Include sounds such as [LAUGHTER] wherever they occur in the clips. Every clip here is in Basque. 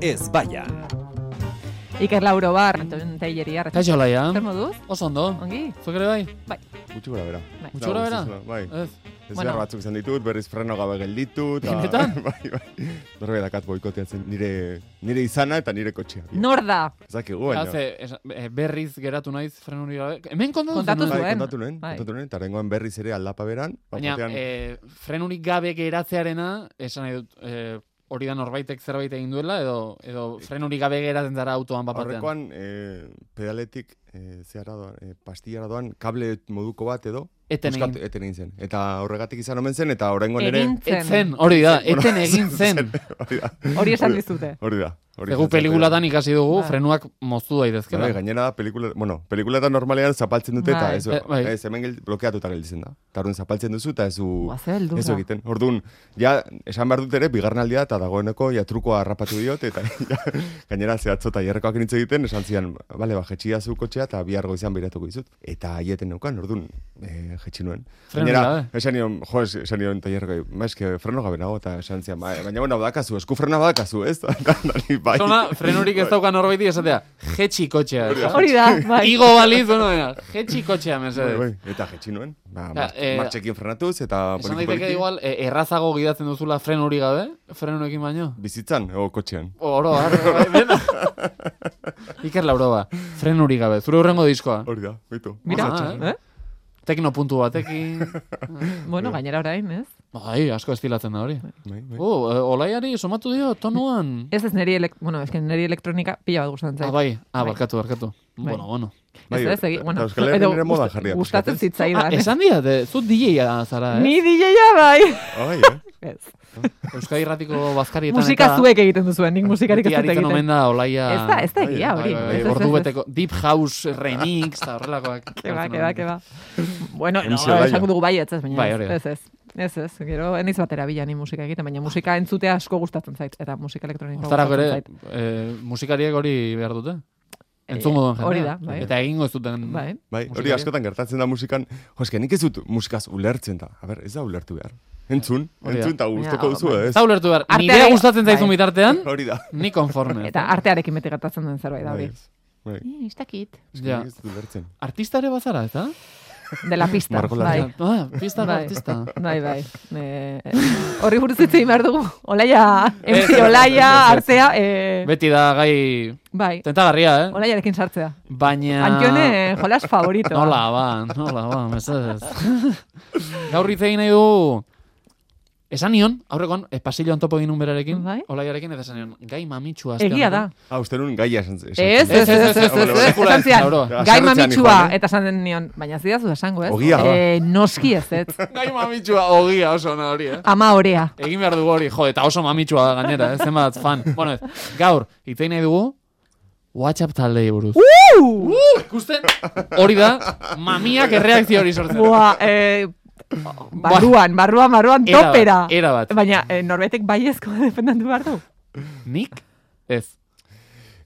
ez baian. Iker Lauro bar, Anton Teieriar. Kaixo laia. Zer moduz? Oso ondo. Ongi? Zuek ere bai? Gutxi gora bera. Bai. Gutxi gora bera? Bai. Ez. Ez Bueno. behar batzuk izan ditut, berriz freno gabe gelditu. eta- Benetan? [LAUGHS] Bai, bai. Norbe dakat boikoteatzen nire, nire izana eta nire kotxea. Nor da? Ez dakigu, baina. Haze, esa- e, berriz geratu naiz freno hori gabe. Hemen kontatu Kontatu zenuen. Bai, zuen. kontatu nuen, Bai. kontatu nuen, eta rengoan berriz ere aldapa beran. Baina, Bai, batean- e, frenurik gabe geratzearena, esan nahi dut, e, hori da norbaitek zerbait egin duela, edo, edo frenurik gabe geratzen dara autoan bapatean. Aurrekoan e, pedaletik e, zehara doan, e, pastillara doan kable moduko bat edo Eten buskat- egin. eten egin zen. Eta horregatik izan omen zen eta oraingoan ere Egintzen. Etzen, hori da, Bueno, eten [LAUGHS] egin zen. hori da. Hori esan Hori- dizute. Hori da. Hori Egu izan zen, pelikulatan ikasi dugu, Bai. frenuak moztu Bai, daitezkela. gainera da pelikula, bueno, pelikulatan normalean zapaltzen dute eta Bai. ez, Eh, bai. ez hemen gel- blokeatuta gelditzen da. Eta orduan zapaltzen duzu eta ez du Ua, ze beldurra. Uh, ez du egiten. Orduan, ja, esan behar dut ere, bigarren aldia eta dagoeneko ja trukoa harrapatu diot eta [LAUGHS] ja, gainera zehatzo eta jarrekoak nintz egiten, esan zidan, bale, ba, jetxia zu kotxea eta bihar goizean biratuko dizut. Eta aieten neukan, orduan, e, jetxi nuen. Frenik Gainera, gabe. esan nion, jo, es- esan nion tailerreko, maeske freno gabe nago eta esan zidan, "Ba, baina bueno, badakazu, esku frena badakazu, ez? [LAUGHS] Eta ni, bai. Zona, frenurik ez daukan norbaiti esatea, jetxi kotxea. Hori [LAUGHS] da, bai. Igo baliz, bueno, dena, jetxi kotxea, mesedez. Bai, bai, Eta jetxi nuen. Ba, Ja, mar- eh, martxekin frenatuz eta Esan poliki-poliki. daiteke igual, e, errazago gidatzen duzula fren hori gabe, frenoekin baino. Bizitzan, o kotxean. Oro, har, bai, dena. Iker Lauroa, fren hori gabe, zure hurrengo diskoa. Hori da, bitu. Mira, Oso txarra. eh? Tekno puntu batekin. Bueno, gainera orain, ez? Bai, asko estilatzen da hori. Bai, bai. Oh, e, olaiari somatu dio, tonuan. Ez ez neri, elek bueno, es que neri elektronika pila bat gustatzen Ah, zait. bai, ah, barkatu, barkatu. Bai. Bueno, bueno. Bai, ez, ez, egi- eta- bueno, eta Euskal Herrian edo ere moda gust- jarria, Gustatzen pixkat, Ah, zitzaidan. esan dira, de- zu DJ-a zara, eh? eh. Ni DJ-a bai. Ah, bai, eh? Ez. Euskadi ratiko bazkarietan Musika zuek egiten duzuen, nik musikarik ez Beti dut aritzen egiten. omen da, olaia... Ez da, ez da Bai, egia Bai, hori. bai, bai, Ez, ez, ez, ordu ez. beteko Deep House remix eta horrelakoak. Que ba, que ba, que [LAUGHS] ba. Bueno, no, MC Olaia. esango dugu bai, ez ez, baina Bai, hori da. ez, ez, ez. Ez, ez, gero, eniz batera bila ni musika egiten, baina musika entzutea asko gustatzen zait, eta musika elektronikoa Hortarako ere, gustatzen zait. eh, musikariek hori behar dute. Eh, Entzungo duen jendea. hori da, bai. Eta egingo ez duten... Bai. Bai, hori Musikaria. askotan gertatzen da musikan. Jo, eske nik ez dut musikaz ulertzen da. A ber, ez da ulertu behar. Entzun, Hori da. entzun eta Ja, gustoko duzu, bai. ez? Ez da ulertu behar, Arteari- nirea gustatzen zaizun Bai. [LAUGHS] bitartean, Hori da. ni konforme. Eta artearekin beti gertatzen den zerbait da Bai, hori. ez. Bai. Ni, Ez dakit. Eske Ja. nik Ez dut ulertzen. Artista ere bazara, eta? De la pista, Margolaria. bai. Ah, pista da Bai. artista. Bai, bai. Eh, eh, Horri buruz hitz egin behar dugu. Olaia, Ez, MC ez, Olaia, ez, ez. artea, eh, Beti da gai bai. tentagarria, eh? Olaiarekin sartzea. Baina... Antione, eh, jolas favorito. Ah. Nola ba, nola ba, mesedez. [LAUGHS] Gaur hitz egin nahi du... Esan nion, eh, aurrekoan, espasilioan topo egin nun berarekin, Bai. olaiarekin, eta esan nion, gai mamitxua. aste Egia da. honetan. Ah, uste nun gaia esan esan Ez, zen. ez, ez, ez, ez, Bale, bale. ez, esan zian, Lauro. gai Haserretzen mamitsua, ninduan, eh? eta esan den nion, baina ez didazu esango ez? Ogia da. Eh, noski ez ez, Gai mamitsua, ogia oso ona hori, eh? ama orea. Egin behar dugu hori, jo, eta oso mamitsua da gainera, ez zenbat fan. Bueno, ez, gaur, hitz egin nahi dugu, WhatsApp taldei buruz. Uh! Uh, ikusten? Hori da, mamiak erreakzio hori sortzen. du. Boa, eh, barruan, barruan, barruan, Era bat, topera. era bat. Baina, eh, norbetek baiezko defendatu behar du. Nik? Ez.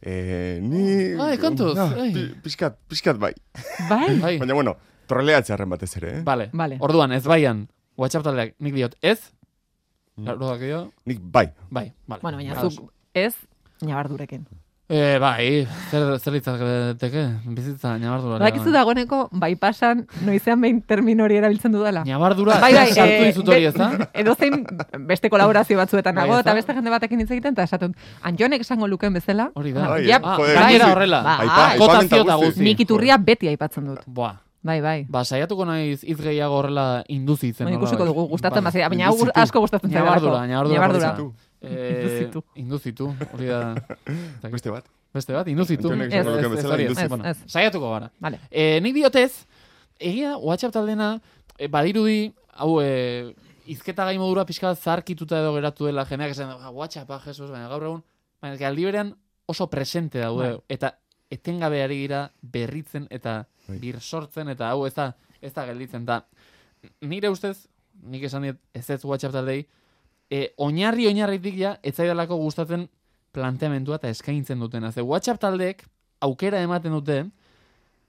Eh, ni... Ai, kontuz, Ah, ai. pi- Pixkat, pixkat bai. Bai? Bai. Baina, bueno, troleatzearen batez ere, eh? Vale. Vale. Orduan, ez baian, WhatsApp taldeak, nik diot, ez? Mm. Orduak dio, Nik bai. bai, vale. Bueno, baina Ados. zuk ez, nabardurekin. Eh, bai, zer, zer litzateke, bizitza, nabardura. Badakizu dagoeneko, bai pasan, noizean behin termino hori erabiltzen dudala. Nabardura, Bai, bai, sartu eh, dizut hori, be- ez da? Edo zein beste kolaborazio batzuetan Bai, nago, eta ezta? beste jende batekin hitz egiten, eta esaten, Antxonek esango lukeen bezala. Hori da. Ah, Bai, ja, eh? Ah, Joder, gainera guzti. horrela. Ba, Aipa- ah, aipamen kotazio eta guzti. guzti. Nik iturria beti aipatzen dut. Boa. Bai, bai. Ba, saiatuko naiz hitz gehiago horrela induzitzen. Ba, ikusiko nolabait. dugu, gustatzen Bai. bazea, baina hau Induzitu. asko gustatzen zaigu. Nabardura, nabardura. Induzitu. Eh, Induzitu. induzitu, hori [LAUGHS] da. ez dakit. Beste bat. Beste bat, induzitu. Antonek esango Ez, lukeen ez, ez, bezala hori ez. induzitu. Bueno, Ez, ez. Saiatuko gara. Vale. E, nik diotez, egia WhatsApp taldena, e, badirudi, hau, e, izketa gai modura pixka bat zaharkituta edo geratu dela, jendeak esan, "Ah, WhatsAppa, Jesus, baina gaur egun, baina eske aldi berean oso presente daude, Bai. eta etengabe ari gira berritzen eta Bai. birsortzen, eta hau ez da, ez da gelditzen, da. Nire ustez, nik esan dit, ez ez WhatsApp taldei, e, oinarri oinarritik ja, ez zaidalako gustatzen planteamendua eta eskaintzen dutena. Ze WhatsApp taldeek aukera ematen dute,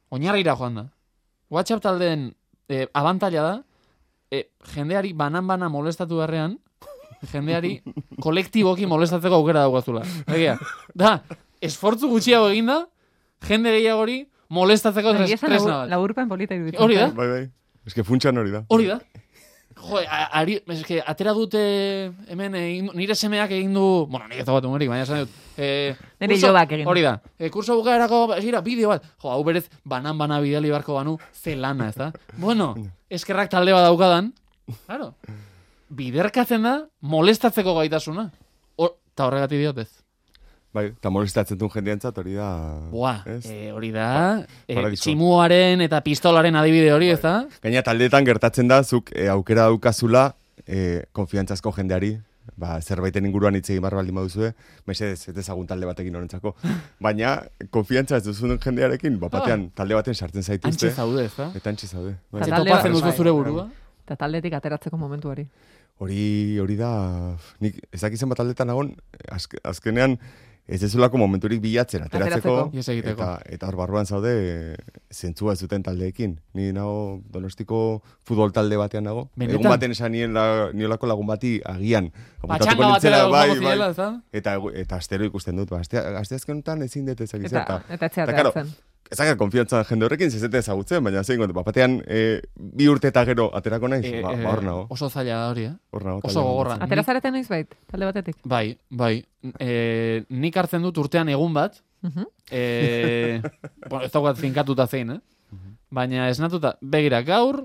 oinarrira joan da. WhatsApp taldeen e, abantaila da, e, jendeari banan-bana molestatu beharrean, jendeari kolektiboki molestatzeko aukera daukazula. Egia. Da, esfortzu gutxiago eginda, jende gehiagori molestatzeko tres- Egia esan tresna labur- bat. laburpen polita iruditzen. Hori da. Bai, bai. Ez que funtsan hori da. Hori da. Jo, a- ari, eske, atera dute hemen eh, egin- nire semeak egin du, bueno, nire zogatu muerik, baina esan dut. Eh, Nire kurso- ilobak egin du. Hori da. Eh, kurso bukaerako, gira, bideo bat. Jo, hau berez, banan-bana bidali barko banu, ze lana, ez da? Bueno, eskerrak talde bat daukadan, claro, biderkatzen da, molestatzeko gaitasuna. Hor, eta horregatik diot ez. Bai, eta molestatzen duen jendeantzat hori da... Boa, Ez? eh, hori da, eh, paradisoa. tximuaren eta pistolaren adibide hori, ez da? Gaina taldeetan gertatzen da, zuk eh, aukera daukazula eh, konfiantzazko jendeari, ba, zerbaiten inguruan hitz egin barra baldin baduzue, mesedez, ez dezagun talde batekin horrentzako. Baina, konfiantza ez duzun jendearekin, ba, batean, talde baten sartzen Antxe zaituzte. Ah. zaude, ez da? Eta antxe zaude. Bai. Ze Eta talde topatzen bat- bai, duzu zure bai. burua? Eta taldetik ateratzeko momentuari. Hori, hori da, nik ez dakizen bat aldetan nagon, azk- azkenean ez dezulako momenturik bilatzen, ateratzeko, Ateratzeko. Ihes egiteko. eta, eta hor barruan zaude e, zentzua ez duten taldeekin. Ni nago donostiko futbol talde batean nago. Benetan? Egun baten esan nien la, niolako lagun bati agian. apuntatuko Patxanga Ba, nintzela, bai, batera dago zirela, ez da? Eta, egu- eta astero ikusten dut, ba, aste, asteazken honetan ezin dut ezak izan, Eta, eta etzea karo, ateratzen. ez dakit konfiantza jende horrekin, zezete ezagutzen, baina zein kontu, ba, batean e, bi urte eta gero aterako naiz, Eh, ba, eh, ba, hor nago. Oso zaila da hori, eh? Hor nago oso talde honetan. gogorra. Atera zarete noiz bait, talde batetik. Bai, bai. E, nik hartzen dut urtean egun bat. Mhm. [LAUGHS] E, bueno, ez daukat finkatuta zein, eh? Mhm. Baina esnatuta, begira, gaur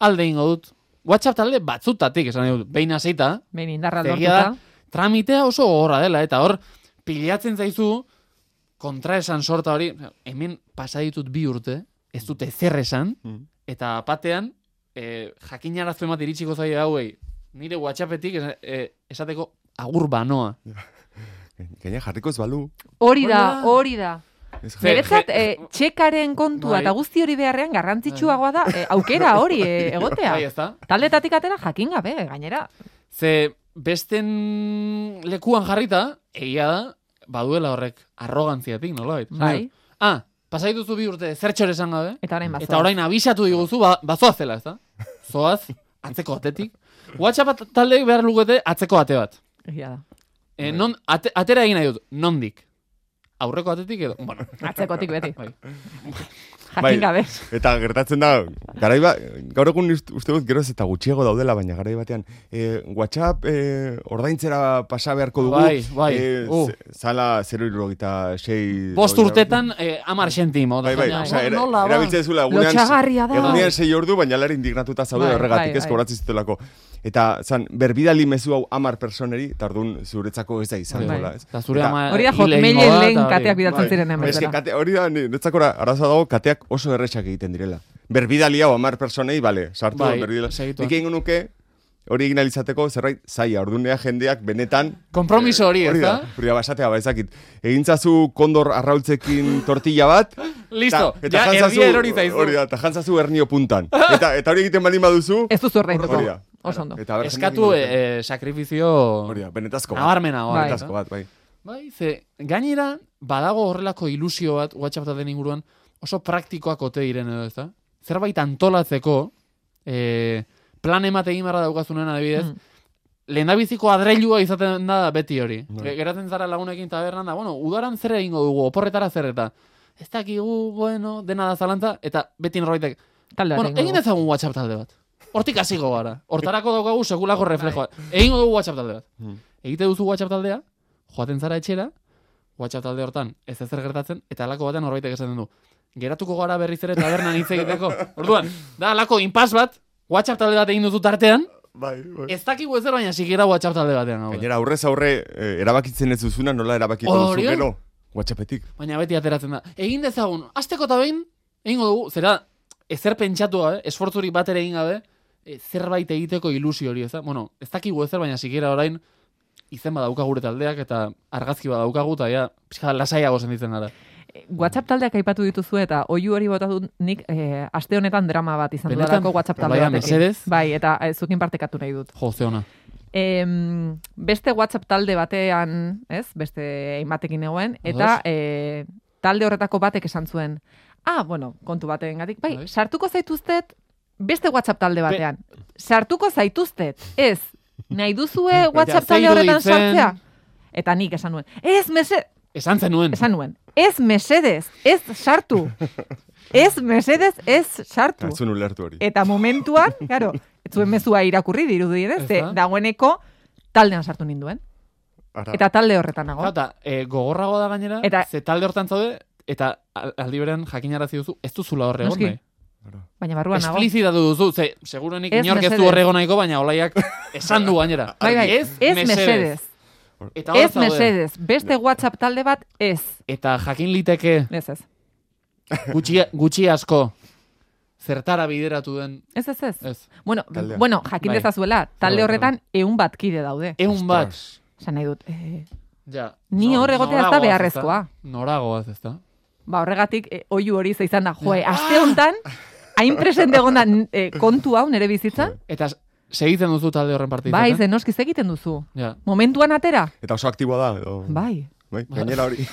alde ingo dut. WhatsApp talde batzutatik, esan nahi dut, behin hasita, Behin indarra Egia da, lortuta. tramitea oso gogorra dela, eta hor, pilatzen zaizu, kontraesan sorta hori, hemen pasa ditut bi urte, ez dut ezer esan, Mhm. eta batean, e, jakinaraztu emat iritsiko zai hauei, nire whatsappetik esa- e, esateko agur banoa. Gaina jarriko ez balu. Hori da, Hori da. hori da. Ez jarri- Beretzat, eh, txekaren kontua Bai. eta guzti hori beharrean garrantzitsuagoa da eh, aukera hori [LAUGHS] eh, egotea. Bai, ez da? Taldetatik atera jakin gabe, gainera. Ze, besten lekuan jarrita, egia da, baduela horrek arrogantziatik, nola Bai. Ah, pasa dituzu bi urte, zertxor esan gabe, Eta orain bazoa. Eta orain abisatu diguzu, ba, bazoaz zela, ez da? Zoaz, atzeko atetik. WhatsApp taldeek behar lukete atzeko ate bat. Egia da. E, non, ate, atera egin nahi dut, nondik. Aurreko atetik edo, bueno, Atzekotik beti. Bai. Bai. Jakin gabe. Eta gertatzen da, garai ba, gaur egun ust- uste dut geroz eta gutxiago daudela, baina garai batean, e, WhatsApp e, ordaintzera pasa beharko dugu. Bai, bai, E, uh. ze- Zala 0,6... bost urtetan eh, amar xentimo. Bai, bai, Bai, osea, era, nola, ba. erabiltzen zuela egunean, Lotxagarria da. egunean sei ordu, baina lara indignatuta zaude Bai, horregatik bai, ez bai. kobratzen zitelako. Eta, zan, berbidali mezu hau amar personeri, eta orduan zuretzako ez da izan Bai. gola, ez? Eta zure Eta- ama Hori da hil egingo hotmailen da, lehen eta hori. kateak Bai. bidaltzen ziren Ba, eske hemen. kate, hori da, ni- netzakora, arazoa dago, kateak oso erresak egiten direla. Berbidali hau amar personei, bale, sartu Bai, berbidali. segitu. Nik egingo nuke, hori egin ahal izateko zerbait zaia, ordunea jendeak benetan... Eh, Konpromiso hori, ez da? Hori da, basatea, baizakit. Egintzazu kondor arraultzekin tortilla bat... [LAUGHS] Listo, ja, eta- eta jantzazu- erdia erori zaizu. Hori da, eta jantzazu hernio puntan. Eta, eta hori egiten baldin baduzu... Ez duzu ordainduko. Hori da. Oso ondo. Eta ber, Eskatu jendeak egiten eh, sakrifizio dute. Hori da, benetazko bat. nabarmena. hor, Bai. ez da? Benetazko bat, bai. Bai, ze, gainera, badago horrelako ilusio bat WhatsApp talden inguruan oso praktikoak ote diren edo, ezta? Zerbait antolatzeko, e, plan emate egin beharra daukazunen adibidez, Mm. lehendabiziko adreilua izaten da beti hori. Bai. Ge- Geratzen zara lagunekin tabernan da, bueno, udaran zer egingo dugu, oporretara zer eta. Ez dakigu, bueno, dena da zalantza, eta beti norbaitek, Talde Bueno, batekin egin dugu. dezagun WhatsApp talde bat. Hortik hasiko gara. Hortarako daukagu sekulako reflejoa. Egingo dugu WhatsApp talde bat. Mm. Egite duzu WhatsApp taldea, joaten zara etxera, WhatsApp talde hortan ez ezer gertatzen eta halako batean norbaitek esaten du. Geratuko gara berriz ere tabernan hitz egiteko. Orduan, da halako inpas bat, WhatsApp talde bat egin duzu tartean, Bai, bai. ez dakigu ezer baina sikiera WhatsApp talde batean gaude. Gainera, aurrez aurre, eh, erabakitzen ez duzuna, nola erabakiko Hori duzu da. gero? Whatsappetik. Baina beti ateratzen da. Egin dezagun, asteko eta behin, egingo dugu, zera, ezer pentsatu gabe, esfortzurik bat ere egin gabe, e, zerbait egiteko ilusio hori, ez da? Bueno, ez dakigu ezer, baina sikiera orain, izen badauka gure taldeak eta argazki badaukagu, eta ja, pixka bat lasaiago sentitzen gara. WhatsApp taldeak aipatu dituzu eta oihu hori bota dut nik eh, aste honetan drama bat izan Benetan? dudalako WhatsApp talde Baina, batekin. mesedez? Bai, eta eh, zukin partekatu nahi dut. Jo, ze ona. Em, beste WhatsApp talde batean, ez, beste hainbatekin egoen, eta eh, talde horretako batek esan zuen, ah, bueno, kontu batengatik, bai, Bai. sartuko zaituztet beste WhatsApp talde batean. Sartuko zaituztet, ez, nahi [LAUGHS] duzue WhatsApp ze talde horretan iruditzen? sartzea? Eta nik esan nuen, ez mese, Esan zenuen. esan nuen, ez mesedez, ez sartu. Ez mesedez, ez sartu. Ez zuen ulertu Eh, hori. Eta momentuan, claro, ez zuen mezua irakurri dirudienez, ze Ez da. dagoeneko taldean sartu ninduen. Ara, Eta talde horretan nago. Eta, e, gogorragoa da gainera, Eta- ze talde hortan zaude, eta al- aldi berean jakinarazi duzu, ez duzula horre egon bai. Noski. nahi. ara. Baina barruan nago. Esplizitatu duzu, ze, segurenik Ez inork ez du mesedez. horre egon nahiko, baina olaiak esan du gainera. [LAUGHS] Bai, bai, ez, mesedez. Eta hor Ez zaude. mesedez. Beste WhatsApp talde bat, ez. Eta jakin liteke Ez ez. gutxi, gutxi asko zertara bideratu den, Ez ez ez. ez. Bueno, Taldea. bueno jakin Eh, Bai. dezazuela, talde Bai, horretan eun bat kide daude. Eun bat. Ostras. Esan nahi dut, eh, Ja, Ni nor- hor egotea ez da noragoaz, beharrezkoa. Noragoaz, ez da? ba horregatik eh, oihu hori ze izan da, joe, aste honetan, hain presente egon da n- eh, kontu hau nere bizitzan, Eta s- segitzen duzu talde horren partitzen. bai, eh? ze noski ze egiten duzu. Ja. Momentuan atera? Eta oso aktiboa da, edo... Ba. Bai. Bai, [LAUGHS] gainera hori.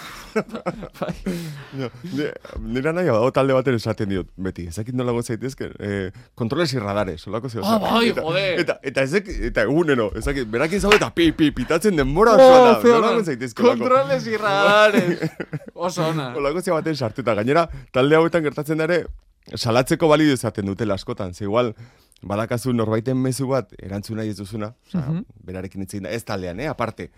Bai. [LAUGHS] Ja, ni- Nire nahi badago talde baten esaten diot, beti, ezakit nola goz zaitezke, eh, kontroles y radares, olako zeo. Ah, bai, eta, joder. Eta, eta, ezek, eta egunero, ezakit, berakin zaude eta pi, pi, pitatzen denbora Oh, osoa da, ze ona. nola goz zaitezke. olako- Kontroles y radares. Oso ona. Olako zeo baten sartuta, gainera, talde hauetan gertatzen da ere, salatzeko balio izaten dutela askotan, ze igual, badakazu norbaiten mezu bat, erantzuna ez duzuna, osea, Mhm. berarekin hitz egin da, ez taldean, eh, aparte.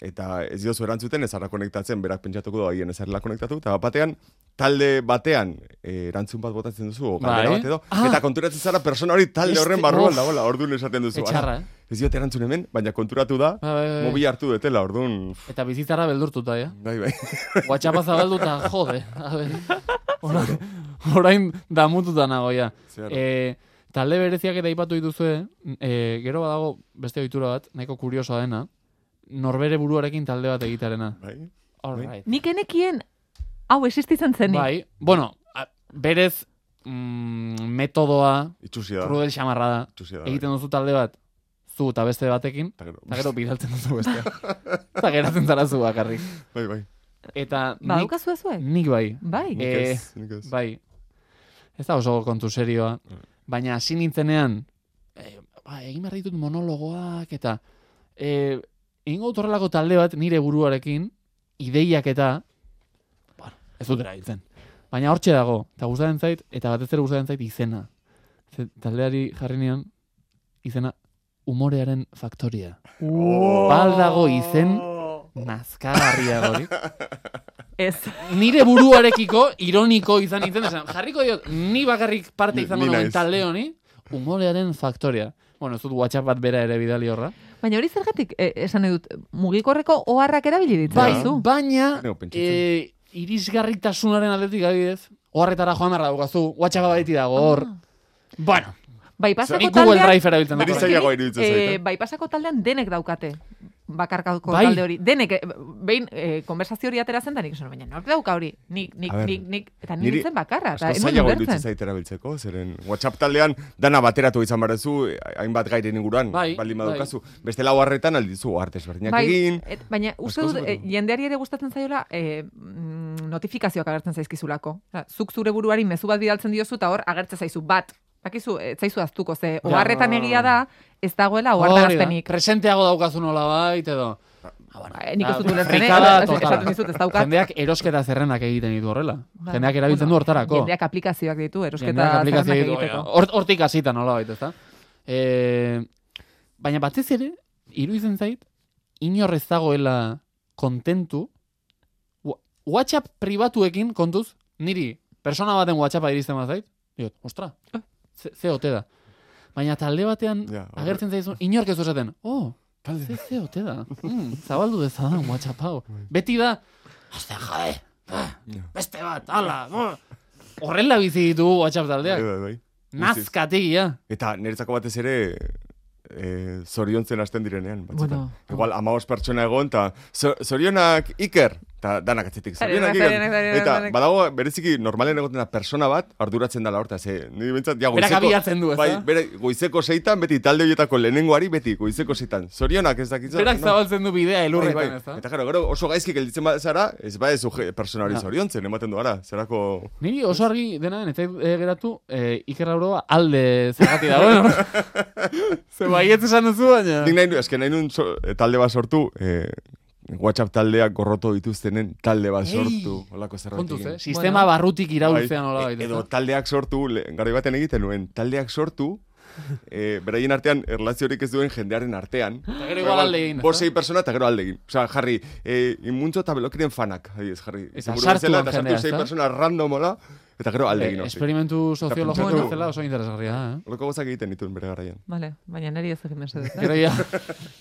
Eta ez diozu erantzuten, ez ara konektatzen, berak pentsatuko du haien ez arela konektatu, eta bat batean, talde batean eh, erantzun bat botatzen duzu, o galdera Bai. bat edo, Ah. eta konturatzen zara persona hori talde Este- horren barruan Uf. dagoela, orduan esaten duzu. ara, Etxarra, eh? Ez diot erantzun hemen, baina konturatu da, Bai, bai, bai. mobila hartu dutela, orduan... pff, Eta bizitzara beldurtuta, ja. Bai, bai. WhatsAppa zabaldu eta jode. A ber. Orain, orain damututa nago, ja. Zer. E, talde bereziak eta aipatu dituzue, e, gero badago beste ohitura bat, nahiko kuriosoa dena, norbere buruarekin talde bat egitearena. bai. All Bai. right. Nik enekien, hau existitzen zenik. Bai, bueno, a- berez mm, metodoa, Itxusia da. krudel xamarra da. Itxusia da. Egiten duzu talde bat, zu eta beste batekin, Eta gero- eta gero bidaltzen duzu bestea. Eta geratzen zara zu bakarrik. [LAUGHS] Bai, bai. Eta Ba, nik, daukazu ezue? nik bai, Bai. Nik Eh, ez, nik ez. bai. Ez da oso kontu serioa. Baina hasi nintzenean, e, ba, egin behar ditut monologoak eta e, egingo dut horrelako talde bat nire buruarekin, ideiak eta, bueno, ez dut erabiltzen. Baina hortxe dago, eta gustatzen zait, eta batez ere gustatzen zait izena. Ze, taldeari jarri nion, izena, umorearen faktoria. Oh. Baldago izen, nazkagarriagorik. Ez. nire buruarekiko ironiko izan nintzen, esan, jarriko diot, ni bakarrik parte Ni- izango ni nuen naiz. talde honi, humorearen faktorea. Bueno, ez dut WhatsApp bat bera ere bidali horra. Baina hori zergatik, eh, esan nahi dut, mugikorreko oharrak erabili ditzen Bai, duzu. baina, Nego pentsatzen. e, irisgarritasunaren atletik adibidez, horretara joan behar daukazu, WhatsApp baiti dago hor. Bueno, Bai, ni pasako Google taldean... Drive erabiltzen Niri dut. zaila- Zailagoa iruditzen zait, eh? bai, pasako taldean denek daukate bakarkako Bai. talde hori. Denek, eh, behin, eh, konversazio hori atera zen da, nik esan, baina nork dauka hori? Nik, nik, A ber, nik, nik, eta niri niri nintzen bakarra. Eta, Asko ez nuen zailago iruditzen ulertzen. zait erabiltzeko, zeren WhatsApp taldean dana bateratu izan barezu, hainbat gairen inguruan, Bai, baldin bai. badaukazu. Beste lau harretan aldizu, oharte ezberdinak Bai, egin, et, baina uste askoz dut hobeto. eh, jendeari ere gustatzen zaiola eh, mm, notifikazioak agertzen zaizkizulako. Osea, zuk zure buruari mezu bat bidaltzen diozu eta hor agertzen zaizu bat. Bakizu, ez zaizu aztuko, ze oharretan egia da, ez dagoela Hori da, ohartarazpenik. Presenteago daukazu nola bait, edo. Eh, Nik Ah, ez dut ulertzen, eh? frikada Ez- ez- totala. esaten dizut, ez daukat. Jendeak erosketa zerrendak egiten ditu horrela. Ba, Jendeak erabiltzen du bueno, hortarako. Jendeak aplikazioak ditu, erosketa Jendeak aplikazioa zerrendak ditu, egiteko. ja. Hort- Hortik hasita nola baita, ezta? E, baina batez ere, iruditzen zait, inor ez dagoela kontentu, wa- WhatsApp pribatuekin kontuz, niri, persona baten WhatsAppa iristen bat zait, diot, ostra, ze, ze ote da. Baina talde batean Ja, hor- agertzen zaizun, inork ez du esaten, oh, ze, ze ote da, mm, zabaldu dezadan WhatsApp hau. Beti da, ostia jade, ah, beste bat, ala, ah." horrela bizi ditugu WhatsApp bai, taldeak. bai, bai. Nazkategia. Eta niretzako batez ere, eh, zoriontzen hasten direnean. batzuetan. Bueno. Igual, amaos pertsona egon, eta "Zo- zorionak Iker, Eta danak atzetik Zarenak, zorionak, zarenak, zarenak, Eta zarenak. badago, bereziki, normalen egoten da persona bat, arduratzen dela horta, ze, ni bintzat, ja, Berak goizeko- abiatzen du, ez bai, da? bere, goizeko seitan, beti talde horietako lehenengoari, beti goizeko seitan. Zorionak ez dakitza. Berak bai, no? zabaltzen du bidea Bai, elurretan, bai. ez da? Eta gero, gero oso gaizki gelditzen bazara, ez badezu je- persona hori Ja. zoriontzen, ematen du gara, zerako... Niri oso argi dena, netzai e, geratu, e, Iker Lauroa alde zergati da, [LAUGHS] bueno. Ze baietz esan duzu, baina... Nik nahi, nu- eske nahi nun so- talde bat sortu, eh, WhatsApp taldeak gorroto dituztenen talde bat Ei! sortu, holako zerbait. Kontuz, egin. eh? Sistema Bueno. barrutik iraultzea Bai, nola e- baita. Edo taldeak sortu, le, gari baten egiten nuen, [LAUGHS] taldeak sortu, e, beraien artean, erlaziorik ez duen jendearen artean. Eta gero igual alde egin, ez da? Bosei persona eta gero alde egin. Osea, jarri, e, inmuntzo eta belokiren fanak. Adibidez, jarri, Eta izenburu sartu bezala, han eta sartu jendea, zei ez da? persona randomola, eta gero alde egin. Eh, hasi. Esperimentu Eta soziologikoa pentsatu- zela oso interesgarria da, [LAUGHS] eh? Horrelako gozak egiten dituen bere garaian. Vale, baina neri ez egin mesedez. eh? Gero ja,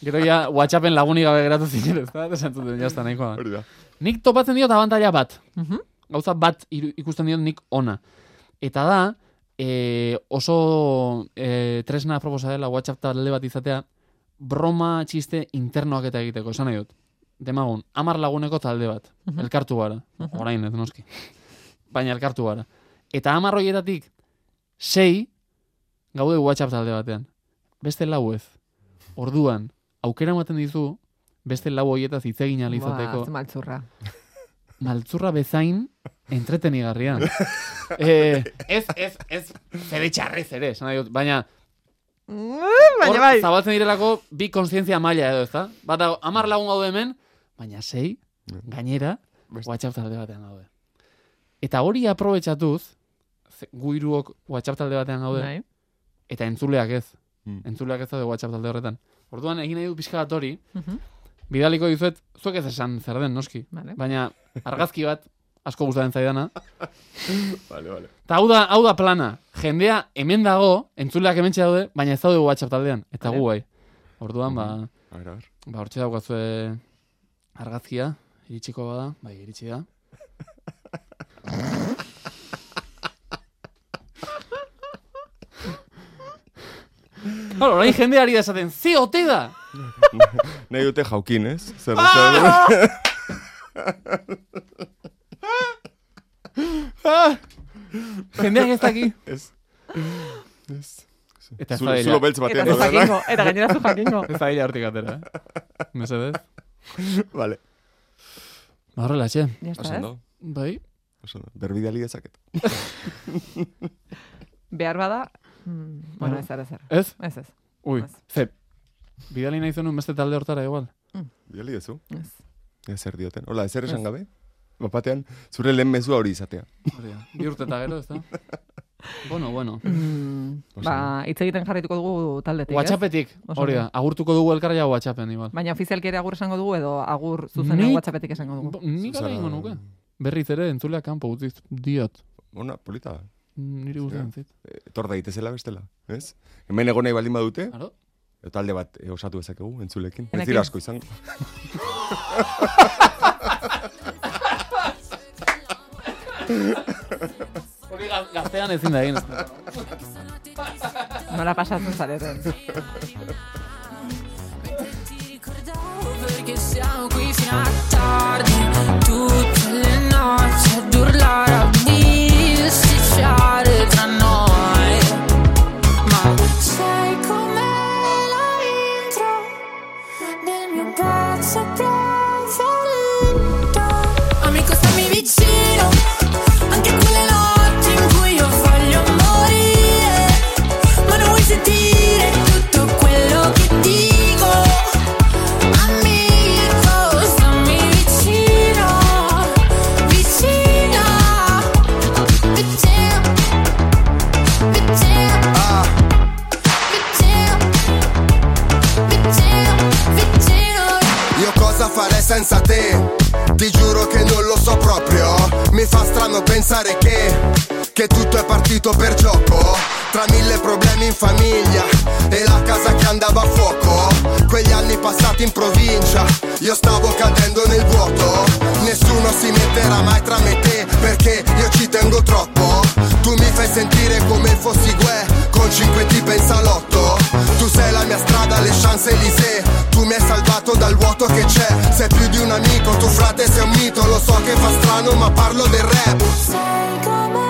gero ja, WhatsAppen laguni gabe geratu zinen, ez da? Esan zuten, jazta, nahikoa. Hori da. Nik topatzen diot abantaila bat. Mhm. Gauza bat iru- ikusten diot nik ona. Eta da, e, oso e, tresna proposa dela WhatsApp talde bat izatea, broma txiste internoak eta egiteko, esan nahi dut. Demagun, amar laguneko talde bat. Elkartu gara. Orain ez noski. Baina elkartu gara. Eta amar horietatik, sei, gaude WhatsApp talde batean. Beste lau ez. Orduan, aukera ematen dizu, beste lau horietaz hitz egin ahal izateko Ba, ze maltzurra. maltzurra bezain entretenigarria. eh, ez, ez, ez, zere txarrez ere, esan nahi dut, baina hor Baina bai. zabaltzen direlako bi konstientzia maila edo, ezta? Bata, amar lagun gaude hemen, baina sei, gainera, Beste. WhatsApp talde batean gaude. Eta hori aprobetxatuz, ze- gu hiruok WhatsApp talde batean gaude, Bai. eta entzuleak ez. Mm. Entzuleak ez daude WhatsApp talde horretan. Orduan, egin nahi dut pixka bat hori, Mhm. bidaliko dizuet, zuek ez esan zer den, noski. Vale. Baina, argazki bat, asko gustatzen zaidana, Vale, vale. Eta hau da, hau da plana. Jendea hemen dago, entzuleak hemen daude, baina ez daude WhatsApp taldean. Eta Vale. gu bai. Orduan, ba, A ver, a ver. ba hortxe daukazue argazkia, iritsiko bada, bai, iritsi da. Hor, orain jende ari da esaten, ze ote da! Nahi dute jaukin, ez? Zer, Ah! Jendeak ez daki. [LAUGHS] zer, ez. Ez. Eta ez Zulo- dadila. Zulo beltz Eta batean. zu daudenak. jakingo, eta gainera zu [LAUGHS] jakingo. Ez da hila hortik atera, eh? Mesedez. [LAUGHS] Vale. Ba, horrela, txe. Ya está, Oso ez? ondo. Bai. Oso ondo. Berbidali dezaket. Behar bada, mm, bueno, Bueno. ez ara zer. Ez? Ez ez. Ui, Ez. ze, bidali nahi zenuen beste talde hortara igual. Bidali dezu. Ez. Ez zer dioten. Hola, ezer esan gabe? Bapatean, zure lehen mezua hori izatea. Bi urte eta gero, ez da? bueno, bueno. Mm, Oso ba, hitz egiten jarraituko dugu taldetik, ez? Whatsappetik, Oso Ba, hori da. Agurtuko dugu elkarra ja Whatsappen, igual. Baina ofizialki ere agur esango dugu edo agur zuzenean Nik- Whatsappetik esango dugu. Bo- Nik Zuzara- gara ingo nuke. Berriz ere entzuleak kanpo utziz diot. Ona, polita. Niri gustatzen zait. Etor daitezela bestela, ez? Hemen egon nahi baldin badute, Aro? talde bat eh, osatu dezakegu, entzulekin. Ez Enekin. dira asko izango. Hori gaz- gaztean ezin da egin. ez da. Nola pasatzen zareten. Ti ricordavo perché siamo qui fino a tardi Tutte le notti ad urlare, a bisticciare tra noi Ma sei come la intro Nel mio pezzo preferito Amico stammi vicino Anche quelle notti in cui io voglio morire Ma non vuoi sentire tutto quello che dico Amico, stammi vicino, vicino, vicino, vicino, vicino, vicino, vicino. Io cosa farei senza te? Ti giuro che non lo so proprio. Mi fa strano pensare che, che tutto è partito per gioco. Tra mille problemi in famiglia e la casa che andava a fuoco. Quegli anni passati in provincia, io stavo cadendo nel vuoto. Nessuno si metterà mai tra me e te perché io ci tengo troppo. Tu mi fai sentire come fossi guè con 5 tipe in salotto. Tu sei la mia strada, le chance Elise. Tu mi hai salvato dal vuoto che c'è. Sei più di un amico, tuo frate sei un mito. finito, lo so che fa strano, ma parlo del rap. Sei come